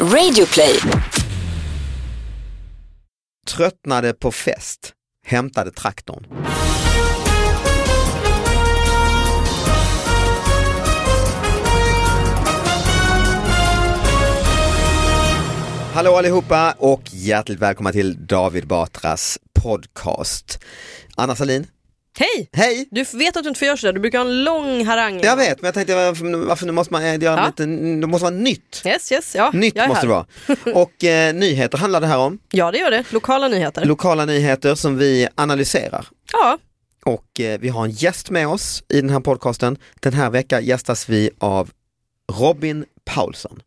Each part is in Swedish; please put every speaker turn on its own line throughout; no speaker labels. Radio play.
Tröttnade på fest. Hämtade traktorn. Hallå allihopa och hjärtligt välkomna till David Batras podcast. Anna Salin,
Hej!
hej!
Du vet att du inte får göra sådär, du brukar ha en lång harang.
Jag vet, men jag tänkte varför, varför nu måste man eh, göra
Ja.
lite, det måste vara nytt.
Yes, yes, ja.
Nytt
jag är
måste
här. Mm.
det vara. Och eh, nyheter handlar det här om.
Ja, det gör det. Lokala nyheter.
Lokala nyheter som vi analyserar.
ja,
Och eh, vi har en gäst med oss i den här podcasten. Den här veckan gästas vi av Robin Paulsson.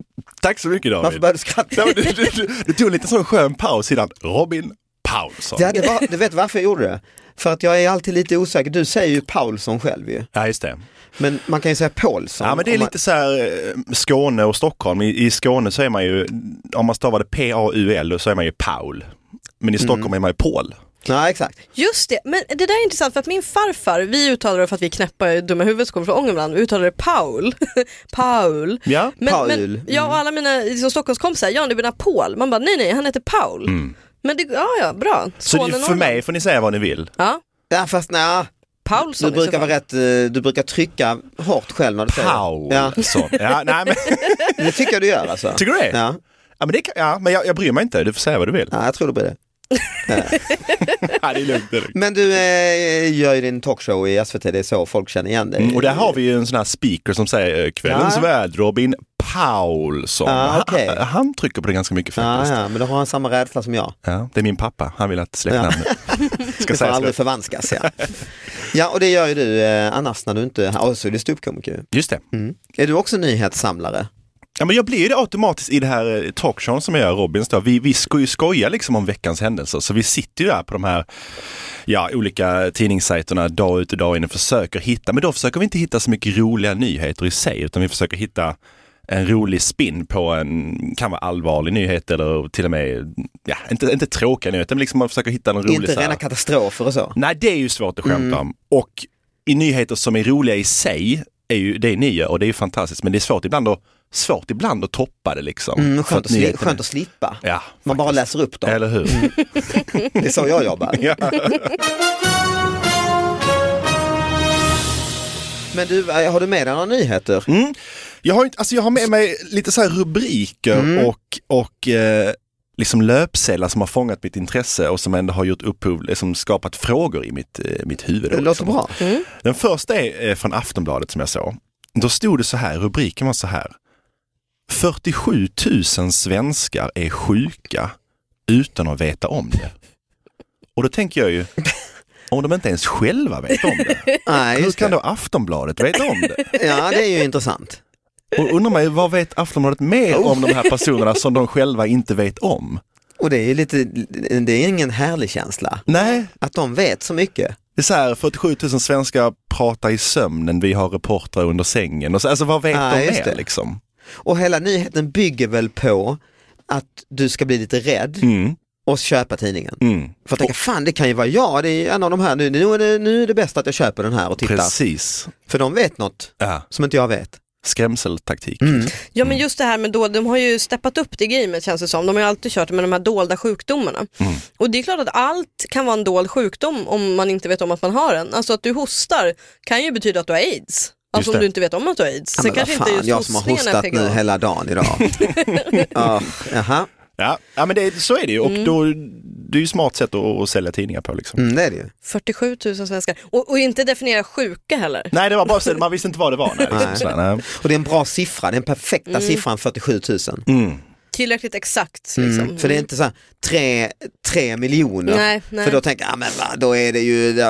Tack så mycket
Varför
David.
började du skratta?
Nej, men du, du, du, du tog en liten sån skön paus innan Robin Paulsson.
Ja, det var, du vet varför jag gjorde det? För att jag är alltid lite osäker. Du säger ju Paulsson själv ju.
Ja just det.
Men man kan ju säga Paulsson.
Ja men det är
om man-
lite så här eh, Skåne och Stockholm. I, I Skåne så är man ju, om man stavar det P-A-U-L så är man ju Paul. Men i
Mm.
Stockholm är man ju Paul.
Ja, exakt.
just det. Men det där är intressant för att min farfar, vi uttalar det för att vi är knäppa i dumma huvudet som kommer från Ångermanland, vi uttalar det Paul. Paul.
Ja.
Men,
Paul. Mm.
Men, ja, och alla mina liksom, Stockholmskompisar, ja du menar Paul? Man bara nej nej, han heter Paul.
Mm.
Men det, ja ja, bra.
Så det,
Skåne,
för
Norrland.
mig får ni säga vad ni vill.
Ja,
Ja, fast nej,
Paulsson
du
i så
brukar
fall.
vara rätt, eh, du brukar trycka hårt själv när du säger det. Ja,
Paulsson. Ja. nej, men,
det tycker jag du gör alltså.
tycker du det?
Ja,
Ja, men, det, kan- ja, men jag, jag bryr mig inte, du får säga vad du vill.
ja jag tror det blir det.
Ja, det är lugnt. Det är lugnt.
Men du eh, gör ju din talkshow i SVT, det är så folk känner igen dig.
Mm, och där har vi ju en sån här speaker som säger eh, kvällens
Ja.
värd Robin Paulsson.
Ja, okej.
han, han trycker på det ganska mycket
Ja,
faktiskt.
ja, men då har han samma rädsla som jag.
Ja, det är min pappa, han vill att släktnamnet ska
Det får
sägas.
aldrig förvanskas. Ja. ja, och det gör ju du eh, annars när du inte är här. Och så är du ståuppkomiker. ju.
Just det.
Mm. Är du också nyhetssamlare?
Ja, men jag blir ju det automatiskt i det här eh, talkshowen som jag gör, Robins. Då. Vi, vi ska ju skoja liksom om veckans händelser, så vi sitter ju där på de här ja, olika tidningssajterna dag ut och dag in och försöker hitta, men då försöker vi inte hitta så mycket roliga nyheter i sig, utan vi försöker hitta en rolig spin på en, kan vara allvarlig nyhet eller till och med, ja, inte, inte tråkiga nyheter, men liksom man försöker hitta en rolig
inte
så här-
rena katastrofer och så?
Nej, det är ju svårt att
Mm.
skämta om. Och i nyheter som är roliga i sig, är ju, det är nya och det är ju fantastiskt, men det är svårt ibland att, svårt ibland att toppa det liksom.
Mm,
För
skönt, att sli-
nyheterna-
skönt att slippa.
Ja,
Man bara läser upp dem. Mm.
eller hur?
Det är så jag jobbar.
Ja.
Men du, eh, har du med dig några nyheter?
Mm. Jag, har, inte- alltså jag har med mig lite så här rubriker
Mm.
och, och eh, liksom löpsedlar som har fångat mitt intresse och som ändå har gjort upphov, liksom skapat frågor i mitt, eh, mitt huvud. då,
Det låter
liksom.
bra.
Den första är eh, från Aftonbladet som jag såg. Då stod det så här, rubriken var så här. 47 000 svenskar är sjuka utan att veta om det. Och då tänker jag ju, om de inte ens själva vet om det,
Nej,
hur
just
kan
det.
då Aftonbladet veta om det?
Ja, det är ju intressant.
Och undrar man ju, vad vet Aftonbladet mer om de här personerna som de själva inte vet om?
Och det är ju lite, det är ingen härlig känsla.
Nej,
Att de vet så mycket.
Det är så här, 47 000 svenskar pratar i sömnen, vi har reportrar under sängen. Och så, alltså vad vet
Ah,
de
just
mer
det.
liksom?
Och hela nyheten bygger väl på att du ska bli lite rädd
Mm,
och köpa tidningen.
mm.
För att tänka, fan det kan ju vara jag, det är en av de här nu, nu är det, nu är det bäst att jag köper den här och tittar.
Precis.
För de vet något
Ja.
som inte jag vet.
Skrämseltaktik.
Mm.
Ja men just det här med då, de har ju steppat upp det gamet känns det som. De har ju alltid kört med de här dolda sjukdomarna.
Mm.
Och det är klart att allt kan vara en dold sjukdom om man inte vet om att man har den. Alltså att du hostar kan ju betyda att du har aids. Alltså
det.
om du inte vet om att du har aids.
Ja,
Sen
men vad
kanske inte
fan,
just
jag som har
hostningen är
hostat nu
PGA.
hela dagen idag. Ja, Jaha,
Ja, ja men det, så är det ju. Och då, det är ju ett smart sätt att, att sälja tidningar på. Liksom.
mm, det är det ju.
47 000 svenskar. Och, och inte definiera sjuka heller.
Nej, det var bara så, man visste inte vad det var. Nej, liksom,
Nej.
så här, nej.
Och det är en bra siffra, den perfekta
Mm.
siffran 47 000.
Mm.
Tillräckligt exakt
Mm.
liksom.
För det är inte så här tre, tre miljoner.
Nej, nej.
För då tänker jag, ah, men va, då är det ju,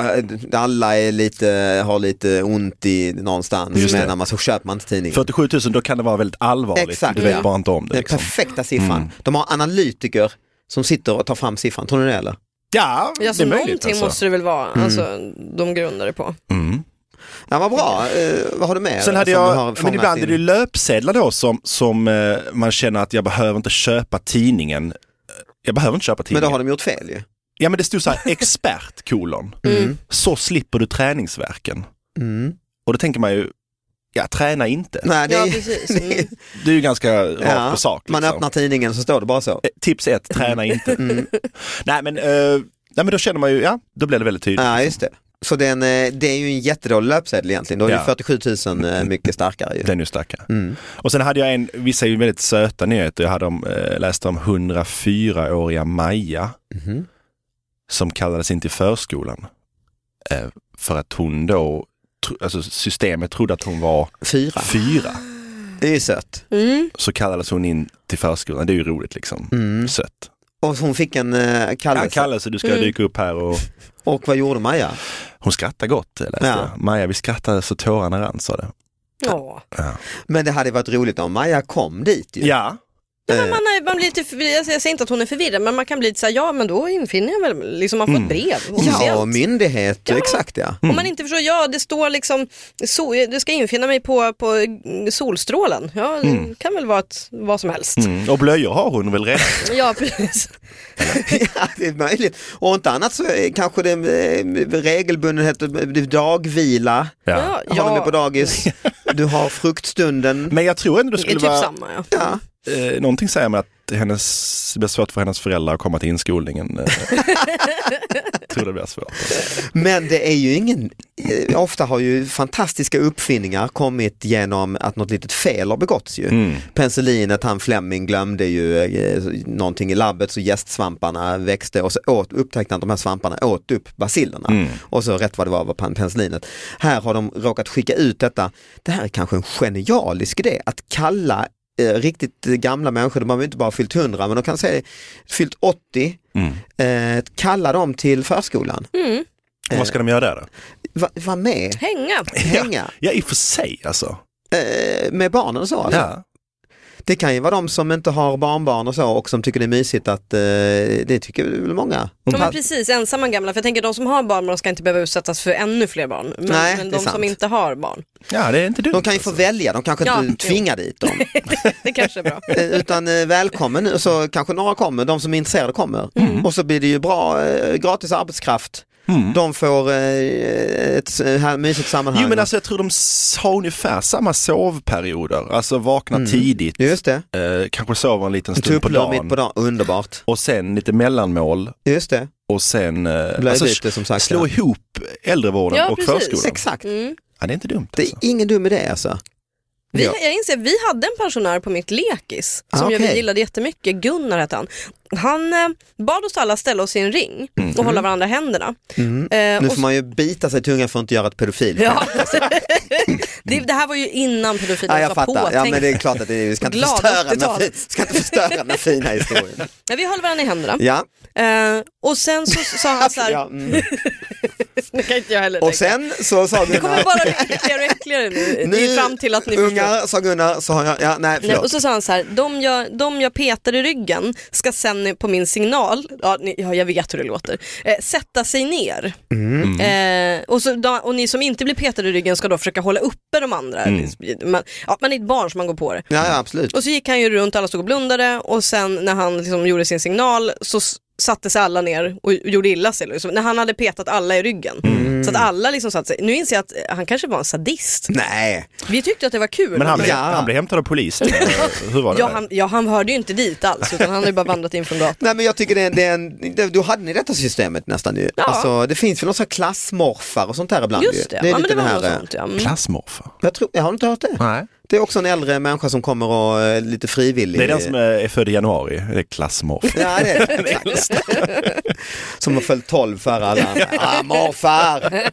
alla är lite, har lite ont i någonstans
Just det.
menar man, så köper man inte tidningen.
47 000, då kan det vara väldigt allvarligt.
Exakt,
du vet
ja.
bara inte om det.
Den
Liksom.
perfekta siffran. De har analytiker som sitter och tar fram siffran, tror ni det eller?
Ja,
Ja,
det
så
är möjligt.
någonting
Alltså.
måste det väl vara,
Mm.
alltså, de grundar det på.
Mm.
Ja, vad bra, eh, vad har du med
Sen hade
som du
jag, men
fångat
ibland är
in?
det ju löpsedlar då som, som eh, man känner att jag behöver inte köpa tidningen. Jag behöver inte köpa
Men
tidningen.
då har de gjort fel ju.
Ja men det stod så här, expert kolon. Så slipper du träningsverken.
Mm.
Och då tänker man ju, ja träna inte.
Nej, det
Ja,
är,
precis.
det är-
Mm.
Det är ju ganska rakt
ja,
på sak.
Man
liksom.
öppnar tidningen så står det bara så.
Eh, Tips ett, träna inte.
Mm.
nej, men, eh, nej men då känner man ju, ja då blir det väldigt tydligt.
Ja, just det. Så den, eh, det är ju en jättedålig löpsedel egentligen, då är
Ja.
det 47 000 eh, mycket starkare ju.
Den är ju starkare.
Mm.
Och sen hade jag en, vissa är ju väldigt söta nyheter. Jag hade om, eh, läste om 104-åriga Maja
Mhm.
som kallades in till förskolan. Eh, för att hon då, tro, alltså systemet trodde att hon var
Fyra,
fyra.
det är ju sött.
Mm.
Så kallades hon in till förskolan. Det är ju roligt liksom.
Mm.
Sött.
Och hon fick en eh,
Ja,
kallelse.
kallelse, du ska dyka upp här och
Och vad gjorde Maja?
hon skrattar gott. eh, läste
Ja.
jag. Maja, vi skrattade så tårarna rann sa det.
Ja.
Men det hade varit roligt om Maja kom dit ju. Eh,
Ja,
Nej, men man, är, man blir lite, förvirrad. jag säger inte att hon är förvirrad men man kan bli lite såhär, ja men då infinner jag väl, liksom man får ett brev.
Mm. Ja, Mm.
officiellt.
och myndighet, exakt ja.
Om man inte förstår, ja det står liksom, so, du ska infinna mig på, på solstrålen. Ja, det
Mm.
kan väl vara ett, vad som helst.
mm. och blöjor har hon väl redan.
Ja, precis.
Ja, det är möjligt. Och inte annat så är kanske det eh, regelbundenhet, eh, dagvila,
Ja.
Ja,
ja. har de med på dagis, du har fruktstunden.
Men jag tror ändå det
det är
skulle
typ
vara
samma ja.
Ja,
eh, någonting säger mig att hennes, det blir svårt för hennes föräldrar att komma till inskolningen. eh. Jag tror det blir svårt.
men det är ju ingen, eh, ofta har ju fantastiska uppfinningar kommit genom att något litet fel har begåtts ju. Penicillinet, han Fleming glömde ju eh, någonting i labbet så gästsvamparna växte och så åt, upptäckte han att de här svamparna åt upp basillerna.
Mm.
Och så rätt vad det var var pen- penicillinet. Här har de råkat skicka ut detta, det här är kanske en genialisk idé, att kalla eh, riktigt eh, gamla människor, de har ju inte bara fyllt 100 men de kan säga fyllt 80,
mm.
eh, kalla dem till förskolan. Eh.
Och Vad ska de göra där då?
Va, var med,
Mm. Hänga.
hänga
Ja, i och för sig alltså.
eh, med barnen och så. alltså.
Ja.
Det kan ju vara de som inte har barnbarn och så och som tycker det är mysigt att eh, det tycker väl många.
Ja, men
Att-
precis, ensamma gamla. För jag tänker de som har barn de ska inte behöva utsättas för ännu fler barn. Men,
Nej,
men
det
de
är
som
sant.
inte har barn.
ja, det är inte dumt.
De kan ju få
alltså.
välja, de kanske
Ja,
inte tvingar dit dem.
Det kanske är bra.
Eh, Utan eh, välkommen nu, så kanske några kommer, de som är intresserade kommer.
Mm.
Och så blir det ju bra, eh, gratis arbetskraft. De får eh, ett s- eh, här mysigt sammanhang.
Jo men alltså jag tror de s- har ungefär samma sovperioder, alltså vakna tidigt,
Mm. Just det,
eh, kanske sover en liten stund på
tupplur
dagen
mitt på dagen, underbart.
och sen lite mellanmål
Just det,
och sen eh,
blöjbyte
alltså, s-
som sagt.
slå
ja.
ihop äldrevården
Ja,
och
precis.
förskolan.
Exakt,
Mm.
Ja, det är inte dumt
det är
alltså.
ingen dum idé alltså.
Vi,
Ja.
Jag inser, vi hade en pensionär på mitt lekis som
Ah,
jag- vi
okej.
gillade jättemycket, Gunnar hette han. Han eh, bad oss alla ställa oss i en ring och hålla varandra i händerna. Eh,
Mm. Nu
och
får man ju bita sig i tungan för att inte göra ett pedofil.
Ja. det, det här var ju innan
Ja,
pedofilen
jag
var på.
fattar. Ja,
tänk.
men det är klart att det är, vi ska inte
Glada
förstöra den här
80-tal.
fi- ska inte förstöra den här fina historien.
Men vi höll varandra i händerna
Ja.
eh, och sen så sa han så här,
ja. mm.
det kan inte jag heller
Och
tänka.
sen så sa
det kommer
Gunnar,
bara bli ytterligare märkligare nu, nu fram till att ni förstår.
ungar, sa Gunnar, så har jag, ja, nej
Nej,
förlåt.
och så sa han så här, de jag, de jag petar i ryggen ska sen på min signal, ja, ni, ja jag vet hur det låter, eh, sätta sig ner.
Mm.
Eh, och, så, da- och ni som inte blir petade i ryggen ska då försöka hålla uppe de andra. Liksom, Man, ja, man är ett barn som man går på det.
Ja, ja, absolut.
Och så gick han ju runt, alla stod och blundade och sen när han liksom gjorde sin signal så s- satte sig alla ner och gjorde illa sig. Liksom. När han hade petat alla i ryggen. Så att alla liksom satte sig. Nu inser jag att eh, han kanske var en sadist.
Nej,
Vi tyckte att det var kul.
Men han blev,
Ja.
han blev hämtad av polisen. Eh, Hur var det?
Ja
där?
han, ja, han hörde ju inte dit alls utan han hade ju bara vandrat in från gatan.
nej men jag tycker det är, det är en, det, då hade ni detta systemet nästan ju.
Ja.
Alltså, det finns väl någon sån här klassmorfar och sånt där ibland ju.
Just det, ja, men det
lite
var
den
något
här, eh,
sånt ja. Mm.
Klassmorfar?
jag, tror, jag har inte hört det.
Nej.
Det är också en äldre människa som kommer och eh, lite frivillig.
Det är den som eh, är född i januari, det är klassmorfar.
Ja, det är det. Exakt. Som har följt tolv före alla andra. Ah, morfar!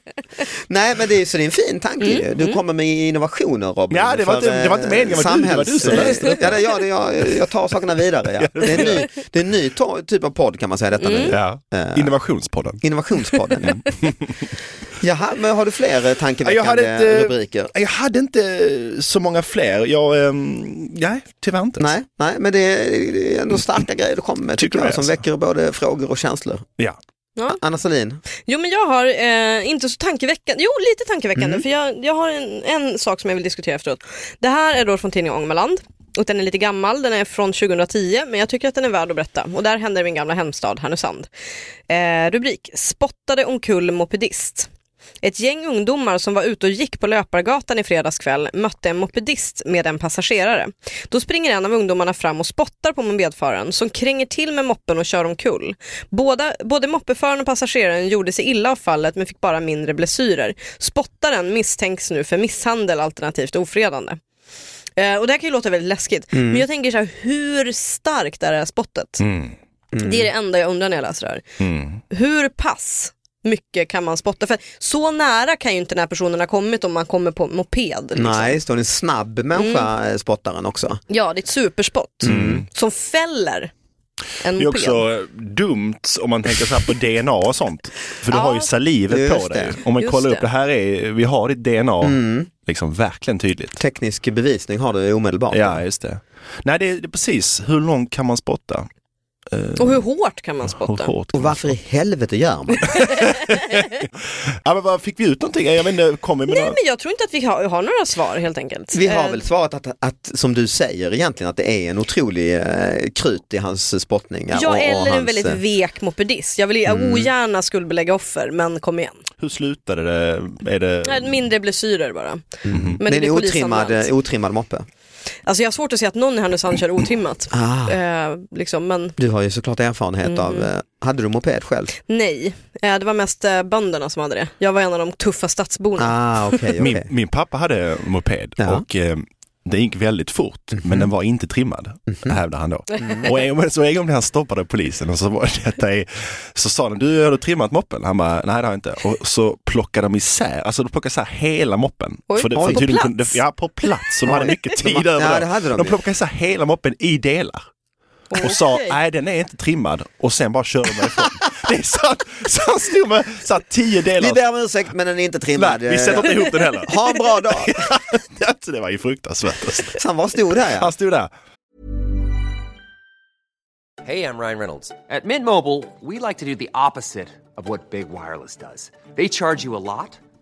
Nej men det är, så det är en fin tanke ju. Du kommer med innovationer Robin.
Ja, det var inte- det var inte meningen, det var du- det var du som läste
det. Ja, det, är jag, det, är jag, jag tar sakerna vidare. Ja. Det är en ny, det är en ny to- typ av podd kan man säga detta nu.
Ja. Innovationspodden.
Innovationspodden. Ja. Jaha, men har du fler eh,
Ja, Jag
tankeväckande
hade, inte,
rubriker?
jag hade inte så många fler. Jag, ehm, nej, tyvärr inte.
Nej, nej, men det är det är ändå starka grejer du kommer med
Tycker
tycker jag,
du det,
som
alltså?
väcker både frågor och känslor.
Ja.
Anna Salin,
Jo men jag har eh, inte så tankeväckande, jo lite tankeväckande
Mm.
för jag, jag har en, en sak som jag vill diskutera efteråt. Det här är då från tidningen Ångermanland och den är lite gammal, den är från 2010 men jag tycker att den är värd att berätta och där händer i min gamla hemstad Härnösand. Eh, rubrik, spottade omkull mopedist. Ett gäng ungdomar som var ute och gick på Löpargatan i fredags kväll mötte en mopedist med en passagerare. Då springer en av ungdomarna fram och spottar på mopedföraren som kränger till med moppen och kör omkull. Båda, både moppeföraren och passageraren gjorde sig illa av fallet men fick bara mindre blessyrer. Spottaren misstänks nu för misshandel alternativt ofredande. Eh, och det här kan ju låta väldigt läskigt
Mm.
men jag tänker så här, hur starkt är det här spottet? Mm. Det är det enda jag undrar när jag läser det här.
Mm.
Hur pass mycket kan man spotta? För så nära kan ju inte den här personen ha kommit om man kommer på moped. Liksom. Mm.
Nej, så är det en snabb människa, eh, spottaren också.
Ja, det är ett superspott
Mm.
som fäller en
Det är
moped.
också dumt om man tänker så här på DNA och sånt. För du
Mm, Ja.
har ju salivet
Just
på dig.
det.
Om man
Just
kollar upp,
det.
det här är, vi har ditt DNA liksom verkligen tydligt.
Teknisk bevisning har du omedelbart.
Ja, just det. Nej, det är, det är precis, hur långt kan man spotta?
Och hur hårt kan man
Hur
spotta?
hårt?
Och varför i helvete gör man?
Ja, men vad, fick vi ut någonting? Jag vet inte, kom vi med
Nej,
några-
men jag tror inte att vi har, har några svar helt enkelt.
Vi har
Eh,
väl svarat att, att som du säger egentligen, att det är en otrolig eh, krut i hans eh, spottningar.
Ja,
och, och
eller en
hans,
väldigt
eh, Mm.
vek mopedist. Jag vill ju ogärna skuldbelägga offer, men kom igen.
Hur slutade det? Är det...
Nej, Mindre blessyrer bara. Men
Eh, Mhm. det är en
blir
otrimmad,
polisanmält.
eh, otrimmad moppe.
Alltså jag har svårt att se att någon i Härnösand kör otrimmat.
Ah.
Eh, Mm. liksom, men
Du har ju såklart erfarenhet av, eh, hade du moped själv?
nej, eh, det var mest eh, bönderna som hade det. Jag var en av de tuffa stadsborna.
Ah, okej,
Min,
okej.
min pappa hade moped
Ja.
och eh, det gick väldigt fort men den var inte trimmad, hävdade han då. Och en, gång- så en gång blev han stoppad av polisen och så, var detta i, så sa de, du har du trimmat moppen? Han bara, nej det har jag inte. Och så plockade de isär, alltså de plockade isär hela moppen.
Oj,
det,
oj. På
tydligen
plats?
kunde- ja, på plats. Så de hade mycket tid över
Ja, det hade de
De
ju.
plockade isär hela moppen i delar. Och sa,
Okej.
nej den är inte trimmad. Och sen bara körde de därifrån. det är så, så han stod med så här, tio delar.
Vi ber om ursäkt men den är inte
Nej,
trimmad.
vi sätter inte ihop den heller.
Ha en bra dag!
Alltså, det var ju fruktansvärt. alltså.
Så han var stor där ja.
Han stod där.
Hey, I'm Ryan Reynolds. At Mint Mobile, we like to do the opposite of what Big Wireless does. They charge you a lot,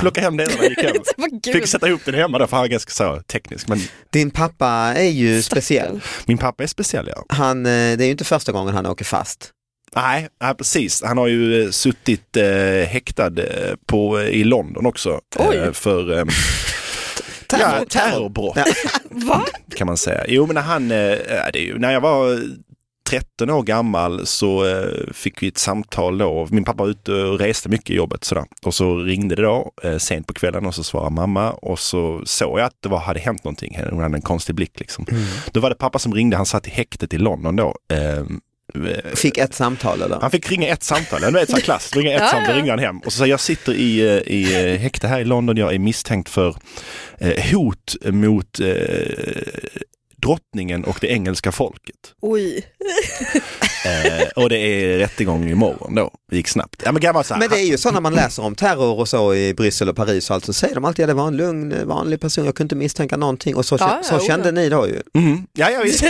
Plocka hem delarna och gick hem.
Vad kul.
Fick sätta ihop den hemma då, för han är ganska så teknisk. Men
Din pappa är ju speciell.
Min pappa är speciell ja.
Han, eh, det är ju inte första gången han åker fast.
Nej, nej, precis. Han har ju eh, suttit eh, häktad eh, på, i London också. Eh, för eh, ja, terrorbrott
Va?
kan man säga. Jo, men när, han, eh, det är ju, när jag var 13 år gammal så eh, fick vi ett samtal då. Min pappa var ute och reste mycket i jobbet sådär. och så ringde det då eh, sent på kvällen och så svarade mamma och så såg jag att det var, hade hänt någonting. Hon hade en konstig blick liksom. Då var det pappa som ringde, han satt i häktet i London då. Eh,
Fick ett samtal eller?
han fick ringa ett samtal, du vet så här klass, ringa ett
Ja,
samtal,
ja.
ringde han hem. Och så sa jag, jag sitter i, eh, i eh, häkte här i London, jag är misstänkt för eh, hot mot eh, drottningen och det engelska folket.
Oj.
Eh, och det är rättegång imorgon då, det gick snabbt. Ja, men, gammal, så här,
Men det är ju så när man läser om terror och så i Bryssel och Paris och allt så säger de alltid att det var en lugn vanlig person, jag kunde inte misstänka någonting och så,
Ja,
kä-
ja,
så kände
oja.
ni då ju.
Mm. Ja, ja, visst.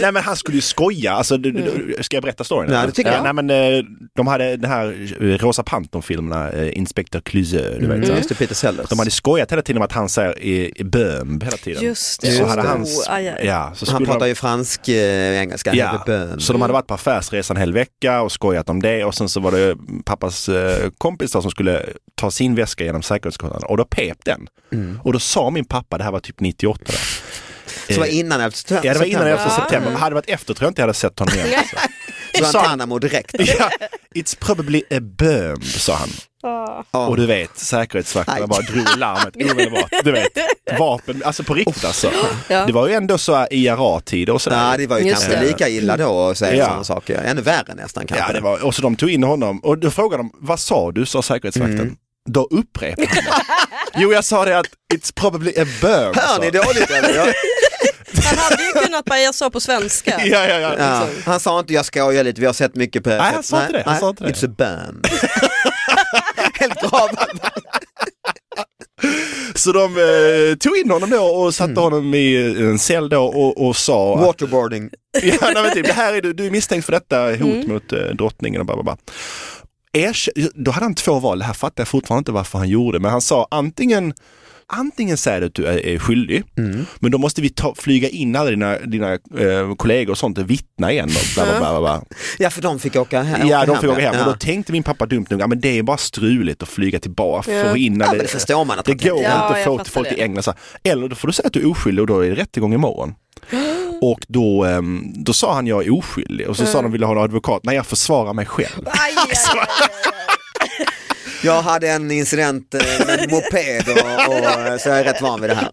nej, men han skulle ju skoja. Alltså, du, du, du, ska jag berätta storyn?
Mm. Nej,
eller?
det tycker
ja,
jag.
Nej, men, eh, de hade den här eh, Rosa Pantern-filmerna, eh, Inspektör Clouseau, du
Mm.
vet.
Ja, just det, Peter Sellers.
De hade skojat hela tiden om att han säger i, i böm hela tiden.
Just
Och
det.
Så
Just
hade
det.
han,
Oh, aj, aj.
ja, så
han
skulle
pratar
de-
ju fransk, eh, engelska,
Ja,
bön.
så de hade varit på affärsresa en hel vecka och skojat om det och sen så var det pappas eh, kompis där som skulle ta sin väska genom säkerhetskontrollen och då pep den.
Mm.
Och då sa min pappa, det här var typ 98 där.
Så det var innan 11
Ja, det var innan
september.
11 september.
Ah.
Hade det varit efter tror jag inte jag hade sett honom igen. alltså.
Guantanamo direkt.
Ja, it's probably a böm, sa han.
Ah.
Och du vet, säkerhetsvakterna
Aj.
bara drog larmet omedelbart. Du vet, vapen, alltså på riktigt alltså.
Ja.
Det var ju ändå så här IRA-tider och sådär.
Ja, det var ju Just kanske det. lika illa då att säga sådana saker. Ännu värre nästan kanske.
Ja, det var, och så de tog in honom och då frågade de, vad sa du, sa säkerhetsvakten.
Mm.
Då upprepade han det. Jo, jag sa det att it's probably a alltså. böm.
Hör
sa
ni
han.
dåligt eller? Ja.
Han hade ju kunnat bara, jag sa på svenska.
Ja, Han sa inte jag skojar lite, vi har sett mycket på...
liksom. Nej, han sa inte det, han sa inte det.
It's a bam. Helt bra.
Så de eh, tog in honom då och satte
Mm.
honom i en cell då och, och sa... att-
Waterboarding.
ja, nej, men typ, det här är du, du är misstänkt för detta hot
Mm.
mot eh, drottningen och bla bla bla. Erk- då hade han två val, det här fattar jag fortfarande inte varför han gjorde, men han sa antingen Antingen säger du att du är är skyldig, men då måste vi ta, flyga in alla dina, dina eh, kollegor och sånt och vittna igen. Och bla, bla, bla, bla, bla.
Ja, för de fick åka hem.
Ja, de får åka hem.
ja.
Och då tänkte min pappa dumt nog, ja men det är bara struligt att flyga tillbaka
Ja.
för att hinna.
Ja, men det förstår man att
det
han
går
tänkte. Ja,
inte att
jag
få
fattar
till folk
det.
i England. Så här, Eller då får du säga att du är oskyldig och då är det rättegång imorgon. Och då, ehm, då sa han jag är oskyldig och så sa
Mm.
de ville ha en advokat. Nej, jag försvarar mig själv.
Jag hade en incident eh, med en moped och, och, så jag är rätt van vid det här.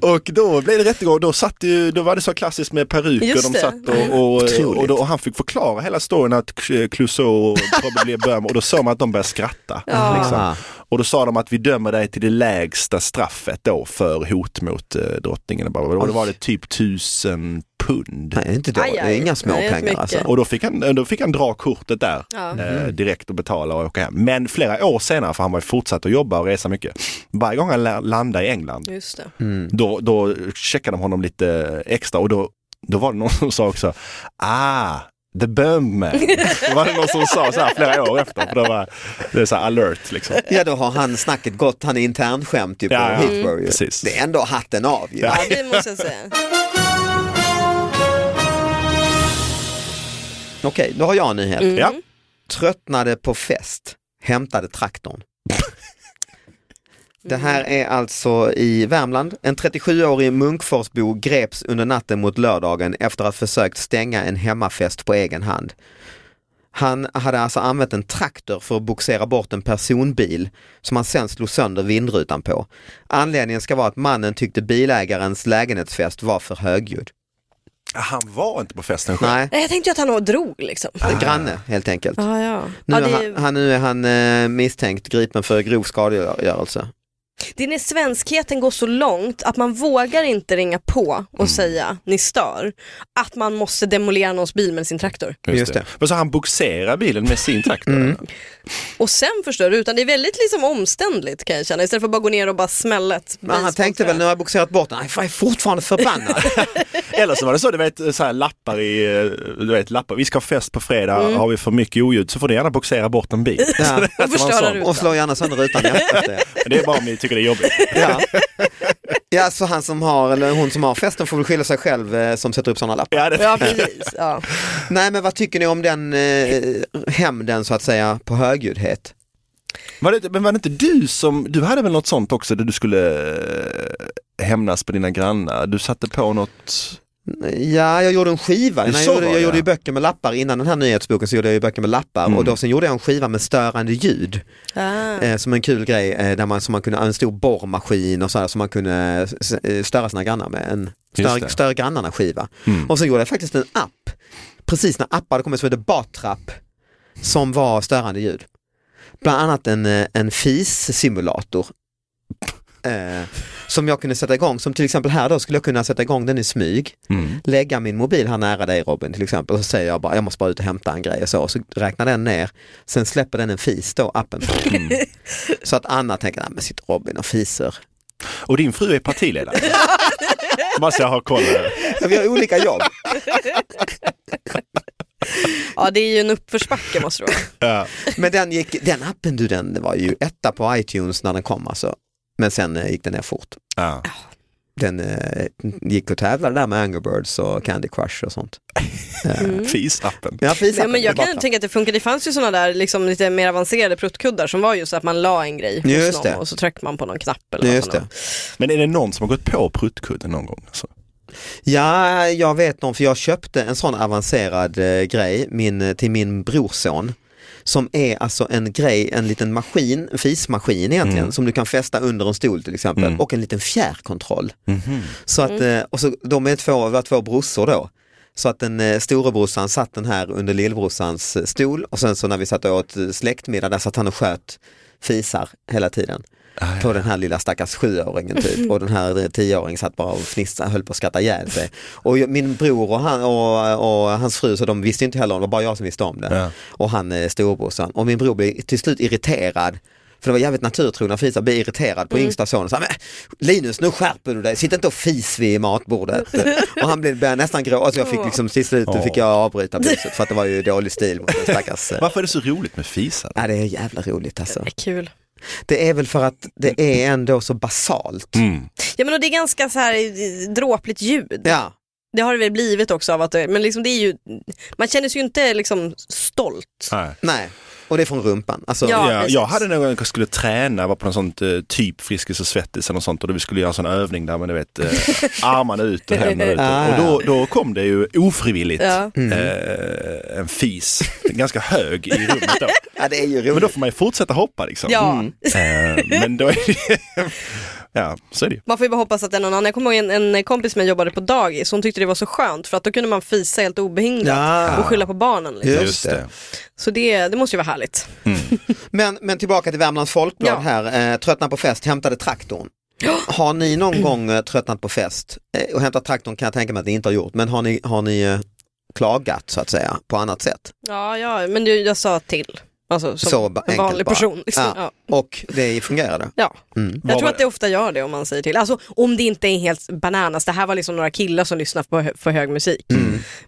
Och då blev det rättegång. Då, satt ju, då var det så klassiskt med peruker.
Just
De
det.
satt och, och,
Otroligt.
och, då, och han fick förklara hela storyn att Cl- Clouseau probably böm och då såg man att de började skratta.
Ja.
Liksom. Och då sa de att vi dömer dig till det lägsta straffet då för hot mot eh, drottningen. Och bara- och då var det typ tusen pund.
Nej, inte då. Det är inga små Nej, det är pengar, mycket. alltså.
Och då fick, han, eh, då fick han dra kortet där
Ja.
eh, direkt och betala och åka hem. Men flera år senare, för han var ju fortsatt att jobba och resa mycket, varje gång han la- landade i England
Just det.
då, då checkade de honom lite extra och då, då var det någon som sa också, ah, the bomb man. Då var det någon som sa så här flera år efter, för det var det är så här alert liksom.
Ja, då har han snacket gått. Han är internskämt ju på
Ja, ja.
Heathrow.
Mm.
ju.
Precis.
Det är ändå hatten av ju.
Ja, det måste jag säga.
Okej, då har jag en nyhet.
Mm. Ja.
Tröttnade på fest, hämtade traktorn. Det här är alltså i Värmland. En 37-årig Munkforsbo greps under natten mot lördagen efter att ha försökt stänga en hemmafest på egen hand. Han hade alltså använt en traktor för att boxera bort en personbil som han sen slog sönder vindrutan på. Anledningen ska vara att mannen tyckte bilägarens lägenhetsfest var för högljudd.
Han var inte på festen
själv. Nej.
Nej, Jag tänkte ju att han nog drog liksom.
En granne helt enkelt.
Ja, ja.
Nu,
ja,
är
det
han, han, nu är han eh, misstänkt gripen för grov skadegörelse.
Det är när svenskheten går så långt att man vågar inte ringa på
Mm.
och säga ni stör. Att man måste demolera någons bil med sin traktor.
Just, det. Men så han boxerar bilen med sin traktor?
Och sen förstör du, utan det är väldigt liksom omständligt kan jag känna. Istället för att bara gå ner och bara smälla ett
Men han tänkte väl, nu har jag boxerat bort den, Nej, fan, jag är fortfarande förbannad.
Eller så var det så, du vet, så här lappar i, eh, du vet, lappar. Vi ska ha fest på fredag,
Mm.
har vi för mycket oljud så får du gärna boxera bort en bil. Så det var en
förstöra
sån.
rutan. Och
slå gärna sönder rutan i efterhand.
Men det är bara om ni tycker det är jobbigt.
ja. ja, så han som har, eller hon som har festen får väl skylla sig själv eh, som sätter upp sådana lappar.
Ja, det-
Ja, precis. Ja.
Nej, men vad tycker ni om den eh, hämnden så att säga på högljuddhet?
Var det, men var det inte du som, du hade väl något sånt också där du skulle eh, hämnas på dina grannar? Du satte på något...
Ja, jag gjorde en skiva.
Det
Nej,
så
jag gjorde,
var
jag
det,
gjorde
ja. Mm.
ju böcker med lappar innan den här nyhetsboken så gjorde jag ju böcker med lappar och då sen gjorde jag en skiva med störande ljud
Ah.
eh, som en kul grej eh, där man, som man kunde, en stor borrmaskin och sådär som man kunde eh, s- eh, störa sina grannar med. En
det.
stör, stör grannarna skiva. Och sen gjorde jag faktiskt en app, precis när appar hade kommit så var det Batrapp som var störande ljud. Bland annat en, eh, en FIS-simulator eh, som jag kunde sätta igång, som till exempel här då skulle jag kunna sätta igång den i smyg, lägga min mobil här nära dig Robin till exempel, och så säger jag bara jag måste bara ut och hämta en grej och så, och så räknar den ner, sen släpper den en fis då, appen. Så att Anna tänker, nej men sitter Robin och fiser.
Och din fru är partiledare. Måste jag ha koll här.
Ja, Vi har olika jobb.
ja, det är ju en uppförsbacke måste det vara.
Men den, gick, den appen du, den var ju etta på iTunes när den kom alltså. Men sen eh, gick den ner fort.
Ja.
Den eh, gick och tävlade där med Angry Birds och Candy Crush och sånt.
Fisappen.
Men jag fisar
Ja, men jag
på det,
kan
bara-
tänka att det funkar. Det fanns ju sådana där liksom, lite mer avancerade pruttkuddar som var just att man la en grej hos
Just
någon
det.
och så tryckte man på någon knapp. Eller vad
Just
fan
det.
Men är det någon som har gått på pruttkudden någon gång? Alltså?
Ja, jag vet någon, för jag köpte en sån avancerad eh, grej min, till min brorson som är alltså en grej, en liten maskin, en fismaskin egentligen, som du kan fästa under en stol till exempel och en liten fjärrkontroll. Så att, eh, och så, de är två, var två brorsor då. Så att den eh, storebrorsan satt den här under lillebrorsans eh, stol och sen så när vi satt och åt eh, släktmiddag där satt han och sköt fisar hela tiden. På den här lilla stackars sjuåringen typ och den här eh, tioåringen satt bara och fnissade, höll på att skratta ihjäl sig. Och jag- min bror och, han, och, och hans fru så de visste inte heller om det, det var bara jag som visste om det. Och han eh, storebrorsan. Och min bror blev till slut irriterad för det var jävligt naturtrogna fisar, blev irriterad på yngsta sonen. Så, här, "Men, Linus nu skärper du dig, sitt inte och fis vid matbordet. och han blev, började nästan gråta, så jag fick liksom till slut
Åh.
fick jag avbryta buset för att det var ju dålig stil mot den stackars. eh.
Varför är det så roligt med fisar?
Ja det är jävla roligt alltså.
Det är kul.
Det är väl för att det är ändå så basalt.
Mm.
Ja, men och det är ganska så här eh, dråpligt ljud.
Ja.
Det har det väl blivit också av att det, men liksom det är ju, man känner sig ju inte liksom stolt.
Nej.
Nej, och det är från rumpan. Alltså,
Ja,
Ja,
precis.
jag hade någon gång jag skulle träna, var på någon sånt eh, typ Friskis och Svettis eller något sånt och då vi skulle göra en sån övning där man du vet eh, armarna ut och händerna ut.
Ah.
Och då, då kom det ju ofrivilligt
Ja.
eh, en fis, ganska hög i rummet då.
ja, det är ju
Men
roligt.
då får man ju fortsätta hoppa liksom.
Ja.
Eh, men då är det, ja så är det ju.
Man får ju bara hoppas att det är någon annan. Jag kommer ihåg en, en kompis med jobbade på dagis, hon tyckte det var så skönt för att då kunde man fisa helt obehindrat
Ja.
och skylla på barnen. Liksom.
Just det.
Så det, det måste ju vara härligt.
Men, men tillbaka till Värmlands Folkblad
Ja.
här, eh, tröttnat på fest, hämtade traktorn. Har ni någon gång eh, tröttnat på fest eh, och hämtat traktorn kan jag tänka mig att ni inte har gjort, men har ni, har ni eh, klagat så att säga på annat sätt?
Ja, ja men jag, jag sa till. Alltså som
Så ba-
en
enkelt
vanlig
bara.
person. Liksom.
Ja.
Ja.
Och det fungerade?
Ja.
Mm.
Jag tror att det ofta gör det om man säger till. Alltså om det inte är helt bananas. Det här var liksom några killar som lyssnar på hö- för hög musik.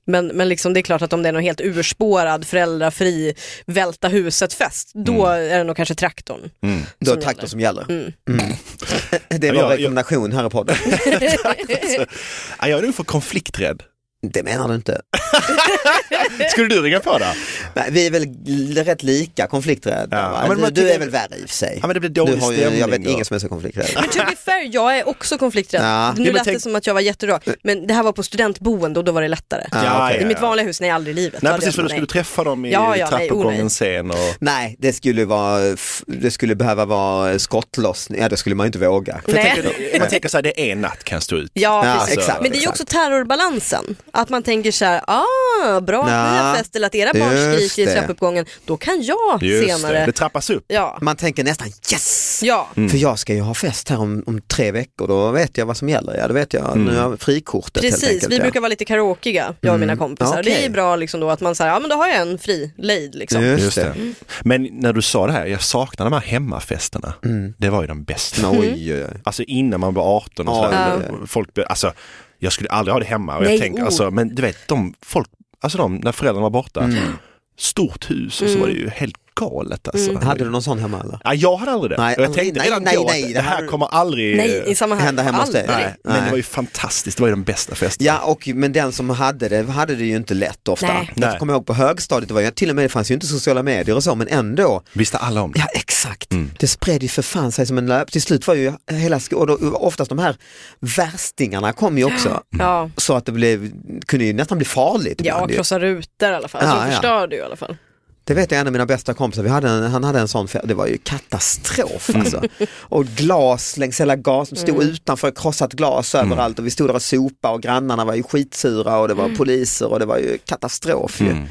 Men, men liksom, det är klart att om det är någon helt urspårad, föräldrafri, välta huset-fest, då är det nog kanske traktorn.
Mm.
Då är
som
traktor
gäller.
som gäller.
Mm.
Det
Ja,
var
jag-
rekommendation här i podden.
Ja, jag är nog för konflikträdd.
Det menar du inte.
Skulle du ringa på det?
Nej, vi är väl l- rätt lika konflikträdda.
Ja.
va?
Ja, men man
du, du
tycker-
är väl värre i och för sig.
Ja, men det blir
du
dålig
har ju,
stämning.
jag vet
då.
ingen som är så konflikträdd.
Men to be fair, jag är också konflikträdd.
Ja.
Nu
Ja, men
lät det
tänk-
som att jag var jätterak, men det här var på studentboende och då var det lättare.
Ja,
Ah, okej.
ja,
I mitt
ja.
vanliga hus, nej aldrig i livet.
Nej
Hade
precis,
jag-
för då skulle
nej.
du träffa dem i
Ja, ja, nej, oh,
trappuppgången
nej.
sen och
Nej, det skulle, vara, f- det skulle behöva vara skottlossning, ja det skulle man ju inte våga.
För jag
Nej.
tänker, man tänker så här, det är en natt kan jag stå ut.
Ja,
Ja,
precis.
exakt,
men det är ju
exakt.
också terrorbalansen. Att man tänker så här, ah, ah, bra att ni har
Nja,
festställt era barn
just
skriker i
det.
trappuppgången, då kan jag senare.
trappas upp.
Ja.
Man tänker nästan yes!
Ja.
Mm.
För jag ska ju ha fest här om, om tre veckor, då vet jag vad som gäller. Ja, då vet jag,
Mm.
nu har jag frikortet helt
Precis,
enkelt.
vi
ja.
brukar vara lite karaokiga, jag och mina kompisar. Det är
okej.
bra liksom då att man säger, ja men då har jag en fri lejd liksom.
Just det. Men när du sa det här, jag saknar de här hemmafesterna. Det var ju de bästa.
Mm. Oj, oj,
Alltså innan man var 18 och sådär.
Ja.
Folk, blev- alltså, jag skulle aldrig ha det hemma. Och
Nej,
jag tänker,
oh.
alltså, men du vet, de, folk, alltså de, när föräldrarna var borta, stort hus och så
Mm.
var det ju helt galet. Alltså.
Mm. Hade du någon sån hemma eller?
Ja, jag hade aldrig det.
Nej,
och jag
aldrig.
tänkte
Nej,
redan
nej,
då
nej,
att det
det
här
här-
kommer aldrig
Nej, i samma här.
hända hemma hos dig.
Aldrig.
Nej, men det
Nej.
var ju fantastiskt, det var ju de bästa festerna.
Ja, och, men den som hade det hade det ju inte lätt ofta.
Nej. Nej.
Jag kommer ihåg på högstadiet, det var ju till och med, det fanns ju inte sociala medier och så, men ändå.
Visste alla om det?
Ja, exakt.
Mm.
Det spred ju för fan sig som en löp. Till slut var ju hela sko- och då, oftast de här värstingarna kom ju också.
Ja,
Så att det blev, kunde ju nästan bli farligt.
ja
ibland ju.
krossa rutor i alla fall,
Ja,
alltså,
ja.
förstör du i alla fall.
Det vet jag, en av mina bästa kompisar, vi hade en, han hade en sån, fe- det var ju katastrof
Mm.
alltså. Och glas längs hela gas, som stod
Mm.
utanför, krossat glas
Mm.
överallt och vi stod där och sopade och grannarna var ju skitsura och det
Mm.
var poliser och det var ju katastrof
Mm.
ju.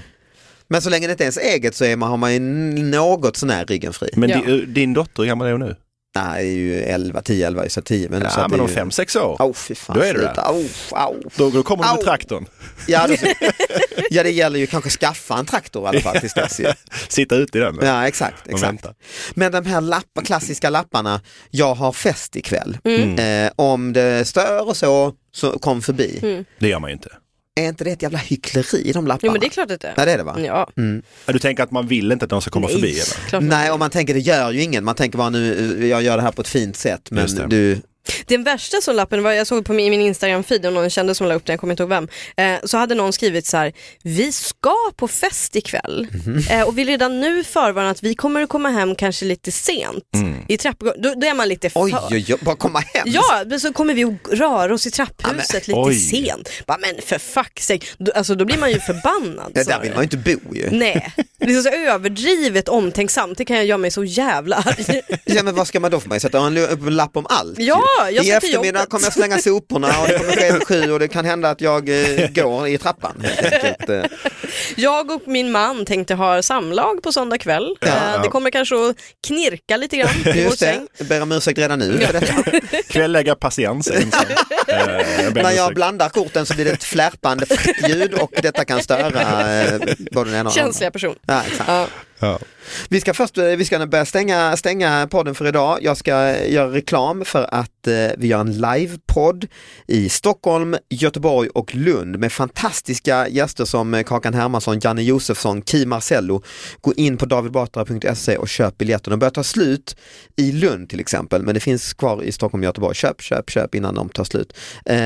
Men så länge det inte är ens eget så är man, har man ju något sån här ryggen fri.
Men di- din dotter, hur gammal är hon nu?
Nej, ju 11, 10, 11, så 10. Men,
Ja,
så att
men
det är
om
ju-
fem, sex år.
Åh, fy fan,
Då är det
sluta.
det.
Åh, åh.
Då, då kommer du med
Au.
traktorn.
Ja, det, ja, det gäller ju kanske skaffa en traktor i alla fall tills dess ju.
Sitta ute i den.
Ja, exakt.
Och
exakt.
vänta.
Men de här lappa, klassiska lapparna, jag har fest ikväll.
Mm.
Eh, om det stör och så, så kom förbi.
Mm.
Det gör man ju inte.
Är inte det ett jävla hyckleri de lapparna?
Jo men det är klart att det
Ja, det är det va?
Ja.
Mm.
Du tänker att man vill inte att någon ska komma förbi? Eller?
Nej, och man tänker det gör ju ingen. Man tänker bara nu, eh, jag gör det här på ett fint sätt,
Just det.
men du,
Den värsta som lappen var, jag såg på min, i min Instagram-feed, om någon kände som la upp den, jag kommer inte ihåg vem, eh, så hade någon skrivit så här, vi ska på fest ikväll
Mhm.
eh, och vi redan nu förvarnar att vi kommer att komma hem kanske lite sent i trappgången, då, då är man lite för...
Mm. oj, oj, oj, bara komma hem.
Ja, men så kommer vi att röra oss i trapphuset lite
Oj.
sent. Bara, men för fuck sake. Då- Alltså då blir man ju förbannad.
Det där
snarare.
vill man ju inte bo ju.
Nej, det är så överdrivet omtänksamt, det kan jag göra mig så jävla arg.
Ja men vad ska man då för mig? Sätta en l- upp en lapp om allt?
Ja, jag
I
ska till
eftermiddag
jobbet.
kommer jag slänga soporna och det kommer ske vid sju och det kan hända att jag eh, går i trappan. helt enkelt. Eh,
Jag och min man tänkte ha samlag på söndag kväll.
Ja.
Eh, Det kommer kanske att knirka lite grann i vår
Just det,
säng.
jag ber om ursäkt redan nu för detta.
Kvälllägga patiens. är en sån. Eh, jag ber om
När jag
ursäkt.
blandar korten så blir det ett flärpande ljud och detta kan störa eh, både den ena och den andra.
Känsliga person.
Ja, exakt.
Ja.
Vi ska först eh, vi ska börja stänga, stänga podden för idag. Jag ska eh, göra reklam för att eh, vi gör en livepodd i Stockholm, Göteborg och Lund med fantastiska gäster som eh, Kakan Hermansson, Janne Josefsson, Ki Marcello. Gå in på davidbatra.se och köp biljetter. De börjar ta slut i Lund till exempel, men det finns kvar i Stockholm och Göteborg. Köp, köp, köp innan de tar slut. Eh,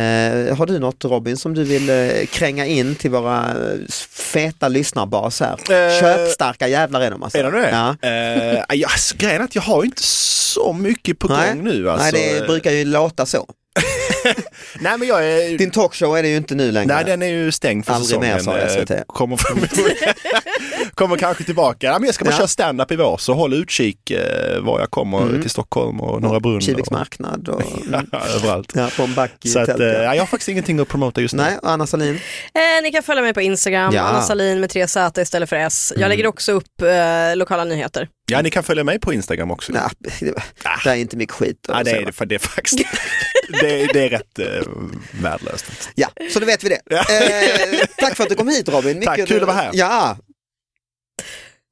har du något Robin som du vill eh, kränga in till våra eh, feta lyssnarbas här?
Eh,
Köpstarka jävlar är de alltså.
Är det det?
Ja.
Eh, ja, alltså, grejen är att jag har ju inte så mycket på gång
Nej.
nu. Alltså.
Nej, det brukar ju låta så.
Nej, men jag är...
Din talkshow är det ju inte nu längre.
Nej, den är ju stängd för
Aldrig
säsongen.
mer, sa
Eh,
SVT.
Kommer, kommer kanske tillbaka. Ja, men jag ska bara
Ja.
köra stand-up i vår, så håll utkik eh, var jag kommer
Mm.
till Stockholm och Norra Brunn.
Kiviks
och-
marknad och mm,
Ja, överallt.
ja, på en back i
Så att,
tält.
eh,
ja.
ja, jag har faktiskt ingenting att promota just nu.
Nej, och Anna Salin.
Eh, ni kan följa mig på Instagram,
Ja. Mm.
Anna Salin med tre Z istället för S. Jag lägger också upp eh, lokala nyheter.
Ja, ni kan följa mig på Instagram också.
Nej, det, det är inte mycket skit.
Ja, Ah. det är det, för det är faktiskt. det, är- det är rätt eh, värdelöst. faktiskt.
Ja, så då vet vi det. Eh, tack för att du kom hit Robin.
Tack, kul att vara här.
Ja.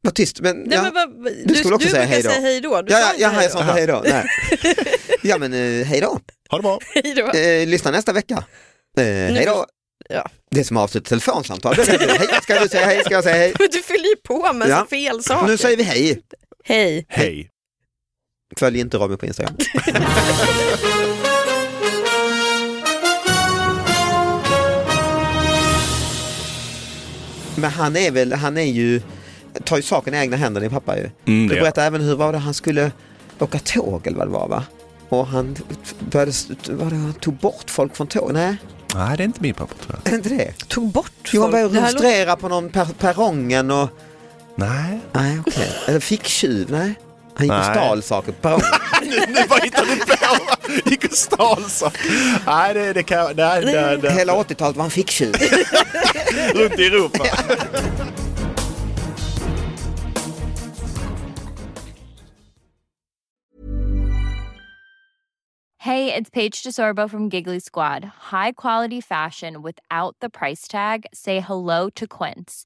Vad tyst, men...
Nej,
ja.
men vad, du
skulle också
du
säga
brukar
hej då.
säga hej då. Du
ja,
sa
ja,
inte
ja, jag sa inte hej då. Nej. Ja, men eh, hej då.
Ha det bra.
hej då.
Eh, lyssna nästa vecka. Eh, hej då.
Ja.
Det är som att avsluta ett telefonsamtal. Det är det. Hej, ska du säga hej? Ska jag säga hej?
Men du fyller ju på med
Ja.
så fel saker.
Nu säger vi hej.
Hej.
Hej.
Följ inte Robin på Instagram. Men han är väl, han är ju, tar ju saken i egna händer din pappa ju.
Mm, det
du
gör
berättade även hur var det han skulle åka tåg eller vad det var va? Och han började, var det, han tog bort folk från tåg? Nej,
Nej, det är inte min pappa tror jag.
är det inte det?
Tog bort
Jo, han
folk. Det
började
här låter-
rustrera på någon per, perrongen och,
Nej.
nej okej, eller ficktjuv, nej. Han gick och
Nej.
stal saker på perrongen.
nu, nu vad hittar du på? Gick och stal
alltså.
så. Nej, det, det kan jag... Nej, nej, nej.
Hela 80-talet var han ficktjuv.
Runt i Europa.
Hey, it's Paige DeSorbo from Giggly Squad. High quality fashion without the price tag. Say hello to Quince.